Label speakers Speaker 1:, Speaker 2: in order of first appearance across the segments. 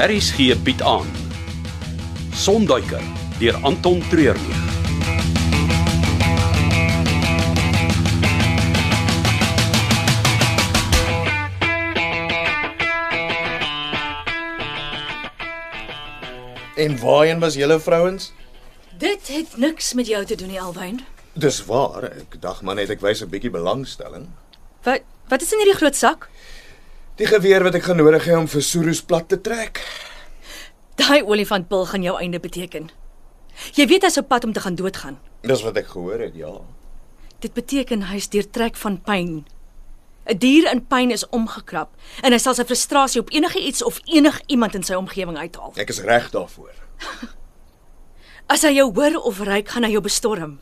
Speaker 1: Aries gee Piet aan. Sonduiker deur Anton Treurnig.
Speaker 2: En waarheen was julle vrouens?
Speaker 3: Dit het niks met jou te doen nie, Alwyn.
Speaker 2: Dis waar, ek dag maar net ek wys 'n bietjie belangstelling.
Speaker 3: Wat wat is in hierdie groot sak?
Speaker 2: Die geweer wat ek gaan nodig hê om vir Soros plat te trek.
Speaker 3: Daai olifantpil gaan jou einde beteken. Jy weet hy's op pad om te gaan doodgaan.
Speaker 2: Dis wat ek gehoor het, ja.
Speaker 3: Dit beteken hy's deurtrek van pyn. 'n Dier in pyn is omgekrap en hy sal sy frustrasie op enige iets of enigiemand in sy omgewing uithaal.
Speaker 2: Ek is reg daarvoor.
Speaker 3: As hy jou hoor of ryk, gaan hy jou bestorm.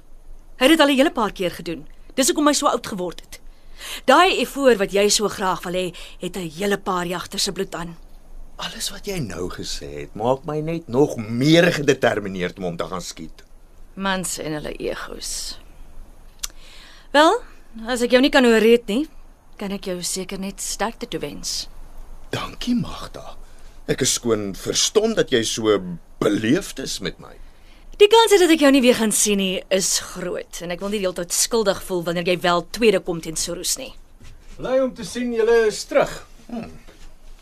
Speaker 3: Hy het dit al 'n hele paar keer gedoen. Dis hoekom hy so oud geword het. Daai efoor wat jy so graag wil hê, het 'n hele paar jagters se bloed aan.
Speaker 2: Alles wat jy nou gesê het, maak my net nog meer gedetermineerd om hom te gaan skiet.
Speaker 3: Mans en hulle egos. Wel, as ek jou nie kan ooreed nie, kan ek jou seker net sterkte toewens.
Speaker 2: Dankie, Magda. Ek is skoon verstom dat jy so beleefd is met my.
Speaker 3: Die kans dat ek jou nie weer gaan sien nie is groot en ek wil nie deeltyd skuldig voel wanneer jy wel tweede kom teen Soros nie.
Speaker 4: Bly om te sien julle is terug.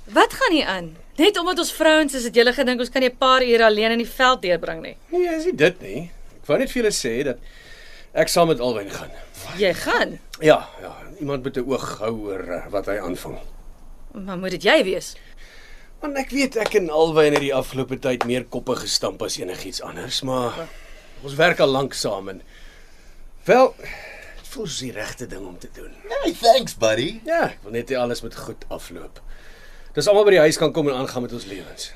Speaker 3: Wat gaan hier aan? Net omdat ons vrouens is, het julle gedink ons kan nie 'n paar ure alleen in die veld deurbring nie.
Speaker 4: Nee, is nie dit nie. Ek wou net vir julle sê dat ek saam met Alwyn gaan.
Speaker 3: Jy gaan,
Speaker 4: Ja, ja, iemand moet 'n oog hou oor eh, wat hy aanvang.
Speaker 3: maar moet dit jy wees?
Speaker 4: Want ek weet ek en Alwyn het die afgelope tyd meer koppe gestamp as enigiets anders, maar ons werk al lank saam en wel, dit voel soos die regte ding om te doen.
Speaker 2: Hey, Nee, thanks, buddy.
Speaker 4: Ja, ek wil net hê alles moet goed afloop. Dis almal by die huis kan kom en aangaan met ons lewens.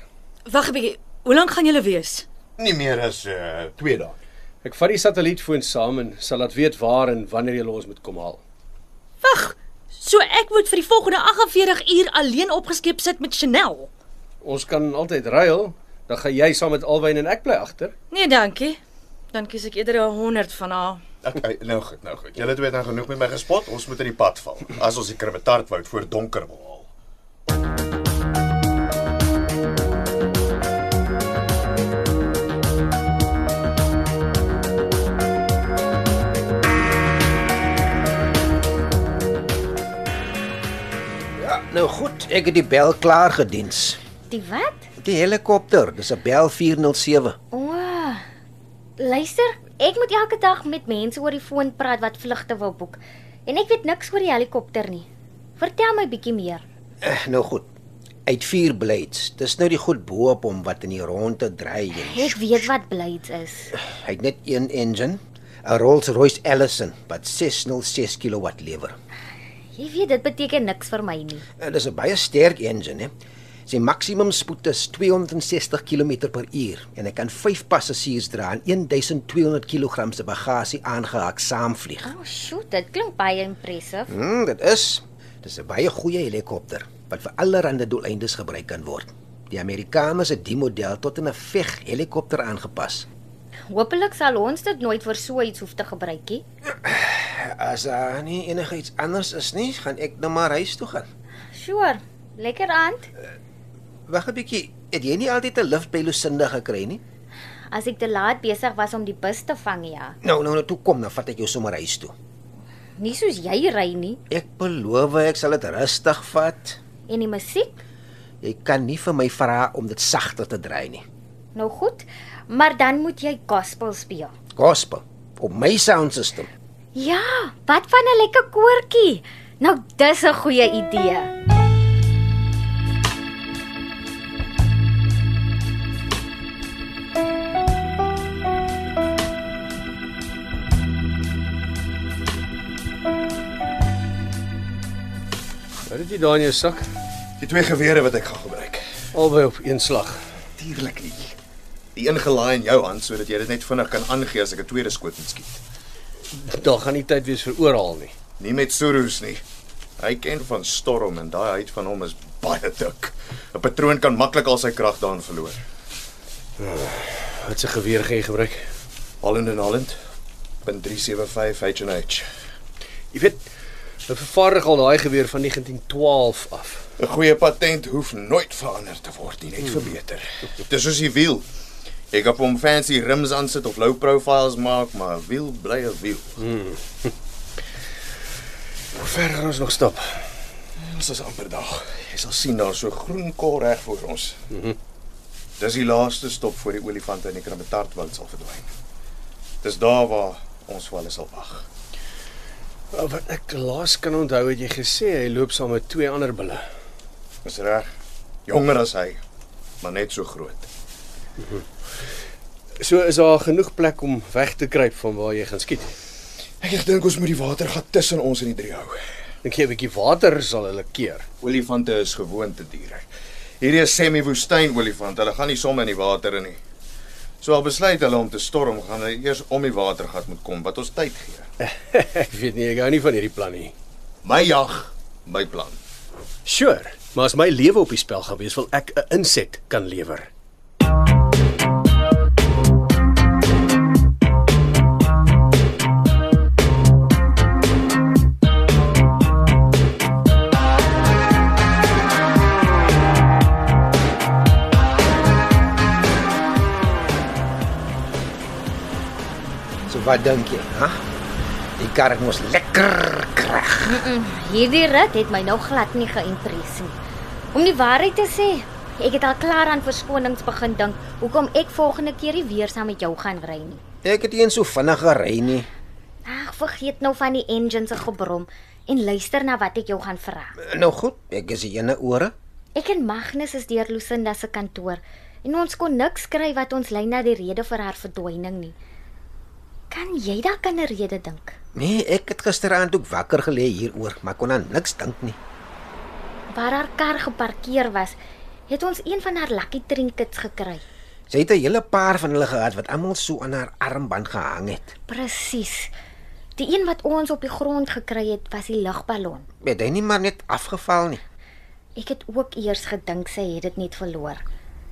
Speaker 3: Wag 'n bietjie. Hoe lank gaan julle wees?
Speaker 2: Nie meer as 2 uh, dae.
Speaker 4: Ek vat die satellietfoon saam en sal laat weet waar en wanneer jy ons moet kom haal.
Speaker 3: Wag. So ek moet vir die volgende 48 uur alleen opgeskep sit met Chanel.
Speaker 4: Ons kan altyd ruil. Dan gaan jy saam met Alwyn en ek bly agter.
Speaker 3: Nee, dankie. Dan kies ek eerder 'n 100 van haar.
Speaker 2: Okay, nou goed, nou goed. Julle twee het nou genoeg met my gespot. Ons moet in die pad val. As ons die Krimetartwoud voor donker wil haal.
Speaker 5: Nou goed, ek het die bel klaar gediens.
Speaker 6: Die wat?
Speaker 5: Die helikopter, dis 'n bel 407.
Speaker 6: O. Oh, luister, ek moet elke dag met mense oor die foon praat wat vlugte wil boek. En ek weet niks oor die helikopter nie. Vertel my bietjie meer.
Speaker 5: Eh, nou goed. Uit vier blades. Dis nou die goed bo op hom wat in die ronde draai. en-
Speaker 6: Ek weet wat blades is.
Speaker 5: Hy het net een engine, 'n Rolls-Royce Ellison wat 606 kW lewer.
Speaker 6: Jy weet dit beteken niks vir my nie.
Speaker 5: Eh, Dis 'n baie sterk engine, hè. Sy maksimum spoed is 260 km/h en hy kan 5 passasiers dra en 1200 kg se bagasie aangehak saamvlieg.
Speaker 6: O, oh, shoot, dit klink baie impressive.
Speaker 5: Hmm, dit is dis 'n baie goeie helikopter wat vir allerlei doeleindes gebruik kan word. Die Amerikaners het die model tot in 'n veg helikopter aangepas.
Speaker 6: Hoopelik sal ons dit nooit vir so iets hoef te gebruik nie.
Speaker 5: Ja, As daar nie enigiets anders is nie, gaan ek nou maar huis toe gaan.
Speaker 6: Sure. Lekker aand.
Speaker 5: Wag 'n bietjie, het jy nie altyd 'n lift by Lusinda gekry nie?
Speaker 6: As ek te laat besig was om die bus te vang, ja.
Speaker 5: Nou, nou, nou toe kom, dan vat ek jou sommer huis toe.
Speaker 6: Nie soos jy ry nie.
Speaker 5: Ek beloof ek sal dit rustig vat.
Speaker 6: En die musiek?
Speaker 5: Jy kan nie vir my vra om dit sagter te draai nie.
Speaker 6: Nou goed, maar dan moet jy gospel speel.
Speaker 5: Gospel op my sound system.
Speaker 6: Ja, wat van 'n lekker koortjie. Nou dis 'n goeie idee.
Speaker 4: Wat het Nou jy daar in jou sak?
Speaker 2: Die twee gewere wat ek gaan gebruik.
Speaker 4: Albei op een slag.
Speaker 2: Natuurlik nie. Die een gelaai in jou hand sodat jy dit net vinnig kan aangee as ek 'n tweede skoot moet skiet.
Speaker 4: Daar gaan nie tyd wees vir oorhaal nie.
Speaker 2: Nie met Soros nie. Hy ken van storm en daai huid van hom is baie dik. 'n Patroon kan maklik al sy krag daarin verloor.
Speaker 4: Wat se geweer gaan jy gebruik?
Speaker 2: Holland en Holland. Bin 375 H&H.
Speaker 4: Jy weet, Hulle vervaardig al daai geweer van 1912 af.
Speaker 2: 'n Goeie patent hoef nooit verander te word nie, net verbeter. Dis soos die wiel. Ek op hom fancy rims aan sit of low profiles maak, maar 'n wiel bly 'n wiel.
Speaker 4: Hoe ver gaan ons nog stap?
Speaker 2: Ons is amper daar. Mhm. Jy sal sien daar so groen kol reg voor ons. Dis die laaste stop voor die olifante in die Kramatardwoud sal verdwyn. Dis daar waar ons vir hulle sal wag.
Speaker 4: Oh, wat ek laas kan onthou het jy gesê hy loop saam met twee ander bulle.
Speaker 2: Dis reg. Jonger as hy, maar net so groot.
Speaker 4: So is daar genoeg plek om weg te kruip van waar jy gaan skiet.
Speaker 2: Ek dink ons moet die watergat tussen ons en die drie hou.
Speaker 4: Dink jy 'n bietjie water sal hulle keer?
Speaker 2: Olifante is gewoonte diere. Hierdie is semi-woestyn olifant. Hulle gaan nie sommer in die water in nie. So al besluit hulle om te storm, gaan hulle eers om die watergat moet kom wat ons tyd gee.
Speaker 4: ek weet nie, ek hou nie van hierdie plan nie.
Speaker 2: My jag, my plan.
Speaker 4: Sure, maar as my lewe op die spel gaan wees, wil ek 'n inset kan lewer.
Speaker 5: So wat dink jy, ha? Die kar het mos lekker krag.
Speaker 6: Hierdie rit het my nou glad nie geïmpress nie. Om die waarheid te sê, ek het al klaar aan verskonings begin dink hoekom ek volgende keer nie weer saam met jou gaan ry nie.
Speaker 5: Ek het eens so vinnig gery nie.
Speaker 6: Ag, vergeet nou van die engine se gebrom en luister na wat ek jou gaan vra.
Speaker 5: Nou goed, ek is die ene ore.
Speaker 6: Ek en Magnus is deur Lucinda se kantoor en ons kon niks kry wat ons lei na die rede vir haar verdwyning nie. Kan jy daar kan 'n rede dink?
Speaker 5: Nee, ek het gisteraand ook wakker gelê hieroor, maar kon aan niks dink nie.
Speaker 6: Waar haar kar geparkeer was, het ons een van haar lucky trinkets gekry.
Speaker 5: Sy het 'n hele paar van hulle gehad wat almal so aan haar armband gehang het.
Speaker 6: Presies. Die een wat ons op die grond gekry het, was die lugballon.
Speaker 5: Het hy nie maar net afgeval nie.
Speaker 6: Ek het ook eers gedink sy het dit net verloor.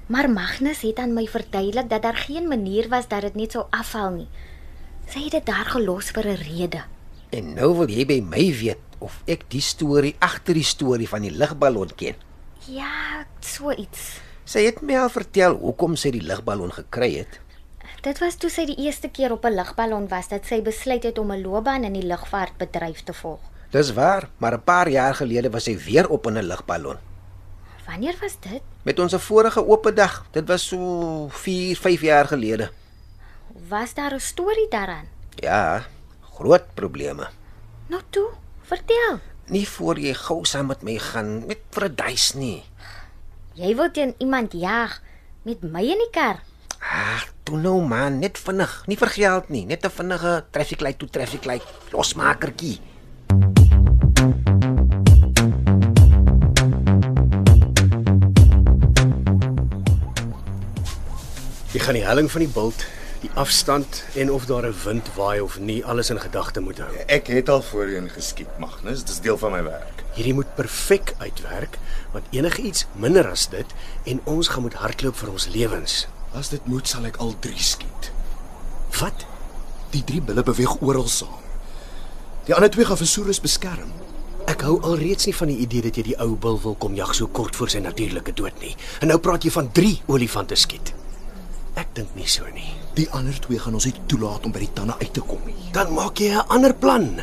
Speaker 6: Maar Magnus het aan my verduidelik dat daar geen manier was dat dit net sou afval nie. Sy het dit daar gelos vir 'n rede.
Speaker 5: En nou wil jy by my weet of ek die storie agter die storie van die ligballon ken.
Speaker 6: Ja, so iets.
Speaker 5: Sy het my al vertel hoekom sy die ligballon gekry het.
Speaker 6: Dit was toe sy die eerste keer op 'n lugballon was dat sy besluit het om 'n loopbaan in die lugvaartbedryf te volg.
Speaker 5: Dis waar, maar 'n paar jaar gelede was sy weer op in 'n ligballon.
Speaker 6: Wanneer was dit?
Speaker 5: Met ons vorige oop dag, dit was so 4, 5 jaar gelede.
Speaker 6: Was daar 'n storie daaraan?
Speaker 5: Ja, groot probleme.
Speaker 6: Nou toe, vertel.
Speaker 5: Nie voor jy gou saam met my gaan met vir 'n duis nie.
Speaker 6: Jy wil teen iemand jag met my in die kar.
Speaker 5: Ag, toe nou man, net vinnig, nie vir geld nie, net 'n vinnige traffic light toe traffic light losmakertjie.
Speaker 4: Jy gaan die helling van die bult, die afstand en of daar 'n wind waai of nie, alles in gedagte moet hou.
Speaker 2: Ek het al voorheen geskiet, Magnus. Dis deel van my werk.
Speaker 4: Hierdie moet perfek uitwerk, want enigiets minder as dit en ons gaan moet hardloop vir ons lewens.
Speaker 2: As dit moet, sal ek al drie skiet.
Speaker 4: Wat?
Speaker 2: Die drie bulle beweeg oral saam. Die ander twee gaan Vesourus beskerm.
Speaker 4: Ek hou alreeds nie van die idee dat jy die ou bil wil kom jag so kort voor sy natuurlike dood nie. En nou praat jy van 3 olifante skiet. Ek dink nie so nie.
Speaker 2: Die ander twee gaan ons nie toelaat om by die tande uit te kom nie.
Speaker 4: Dan maak jy 'n ander plan.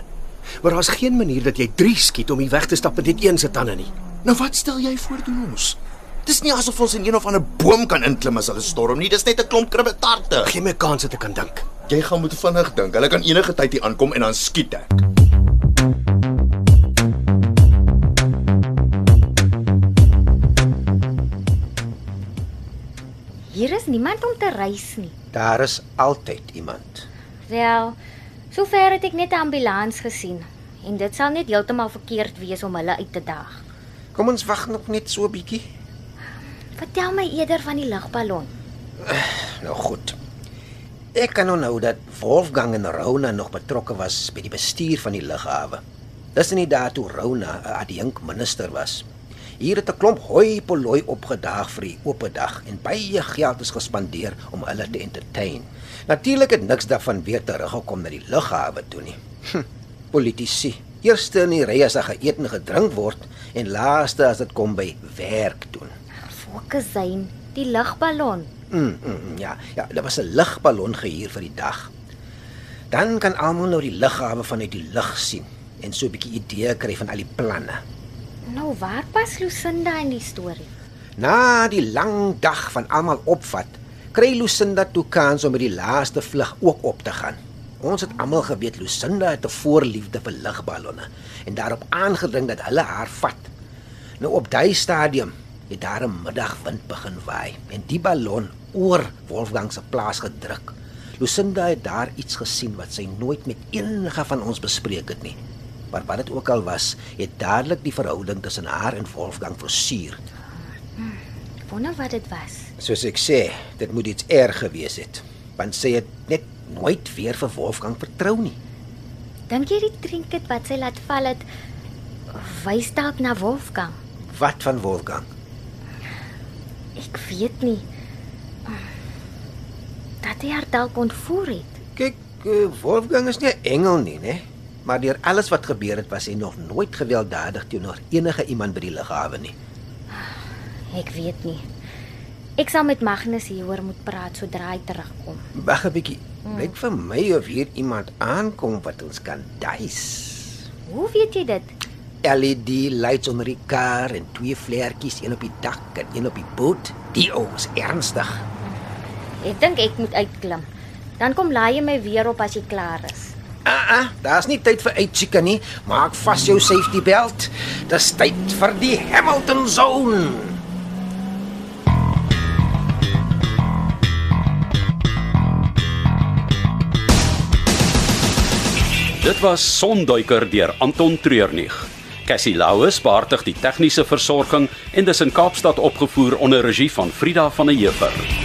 Speaker 4: Maar daar's geen manier dat jy 3 skiet om hier weg te stap met net een se tande nie.
Speaker 2: Nou wat stel jy voor doen ons? Dis nie asof ons in een of ander boom kan inklim as hulle storm nie. Dis net 'n klomp kribbetarte.
Speaker 4: Geen meer kans dat ek kan dink.
Speaker 2: Jy gaan moet vinnig dink. Hulle kan enige tyd hier aankom en dan skiet ek.
Speaker 6: Hier is niemand om te reis nie.
Speaker 5: Daar is altyd iemand.
Speaker 6: Wel, sover het ek net 'n ambulans gesien en dit sal net heeltemal verkeerd wees om hulle uit te daag.
Speaker 5: Kom ons wag nog net so 'n bietjie.
Speaker 6: Vertel my eerder van die lugballon.
Speaker 5: Nou goed. Ek kan onthou dat Wolfgang en Rona nog betrokke was by die bestuur van die lughawe. Dis in die dae toe Rona 'n adjunk minister was. Hier het 'n klomp hoi polloi opgedaag vir die oop dag en baie geld is gespandeer om hulle te entertain. Natuurlik het niks daarvan weer teruggekom na die lughawe toe nie. Hm, politici, Eerste in die ry as daar geëet en gedrink word en laaste as dit kom by werk doen.
Speaker 6: Fokusyn, die lugballon.
Speaker 5: Mm, mm, mm, ja, ja, daar was 'n ligballon gehuur vir die dag. Dan kan almal nou die lughawe vanuit die lug sien en so 'n bietjie idee kry van al die planne.
Speaker 6: Nou waar pas Lucinda in die storie?
Speaker 5: Na die lang dag van almal opvat, kry Lucinda toe kans om met die laaste vlug ook op te gaan. Ons het almal geweet Lucinda het 'n voorliefde vir ligballonne en daarop aangedring dat hulle haar vat. Nou op daai stadium het daar 'n middagwind begin waai en die ballon oor Wolfgang se plaas gedruk. Lucinda het daar iets gesien wat sy nooit met enige van ons bespreek het nie. Maar wat dit ook al was, het dadelik die verhouding tussen haar en Wolfgang versuur.
Speaker 6: Wonder wat dit was.
Speaker 5: Soos ek sê, dit moet iets erg gewees het, want sy het net nooit weer vir Wolfgang vertrou nie.
Speaker 6: Dink jy die trinket wat sy laat val het wys dalk na Wolfgang?
Speaker 5: Wat van Wolfgang?
Speaker 6: Ek weet nie. Ah, Dat hy haar dalk ontvoer het.
Speaker 5: Kyk, eh, Wolfgang is nie 'n engel nie, né? Maar deur alles wat gebeur het, was hy nog nooit gewelddadig teenoor enige iemand by die lughawe nie.
Speaker 6: Ek weet nie. Ek sal met Magnus hieroor moet praat sodra hy terugkom.
Speaker 5: Wag 'n bietjie. Lyk vir my of hier iemand aankom wat ons kan duis.
Speaker 6: Hoe weet jy dit?
Speaker 5: LED lights onder die kar en twee vlekkies, een op die dak en een op die boot. Die ou is ernstig.
Speaker 6: Ek dink ek moet uitklim. Dan kom laai jy my weer op as jy klaar is.
Speaker 5: Ah ah, daar's nie tyd vir uitchika nie. Maak vas jou safety belt. Dis tyd vir die Hamilton Zone.
Speaker 1: Dit was Sonduiker deur Anton Treurnig. Cassie Louws beheerdig die tegniese versorging en dis in Kaapstad opgevoer onder regie van Frida van der Heever.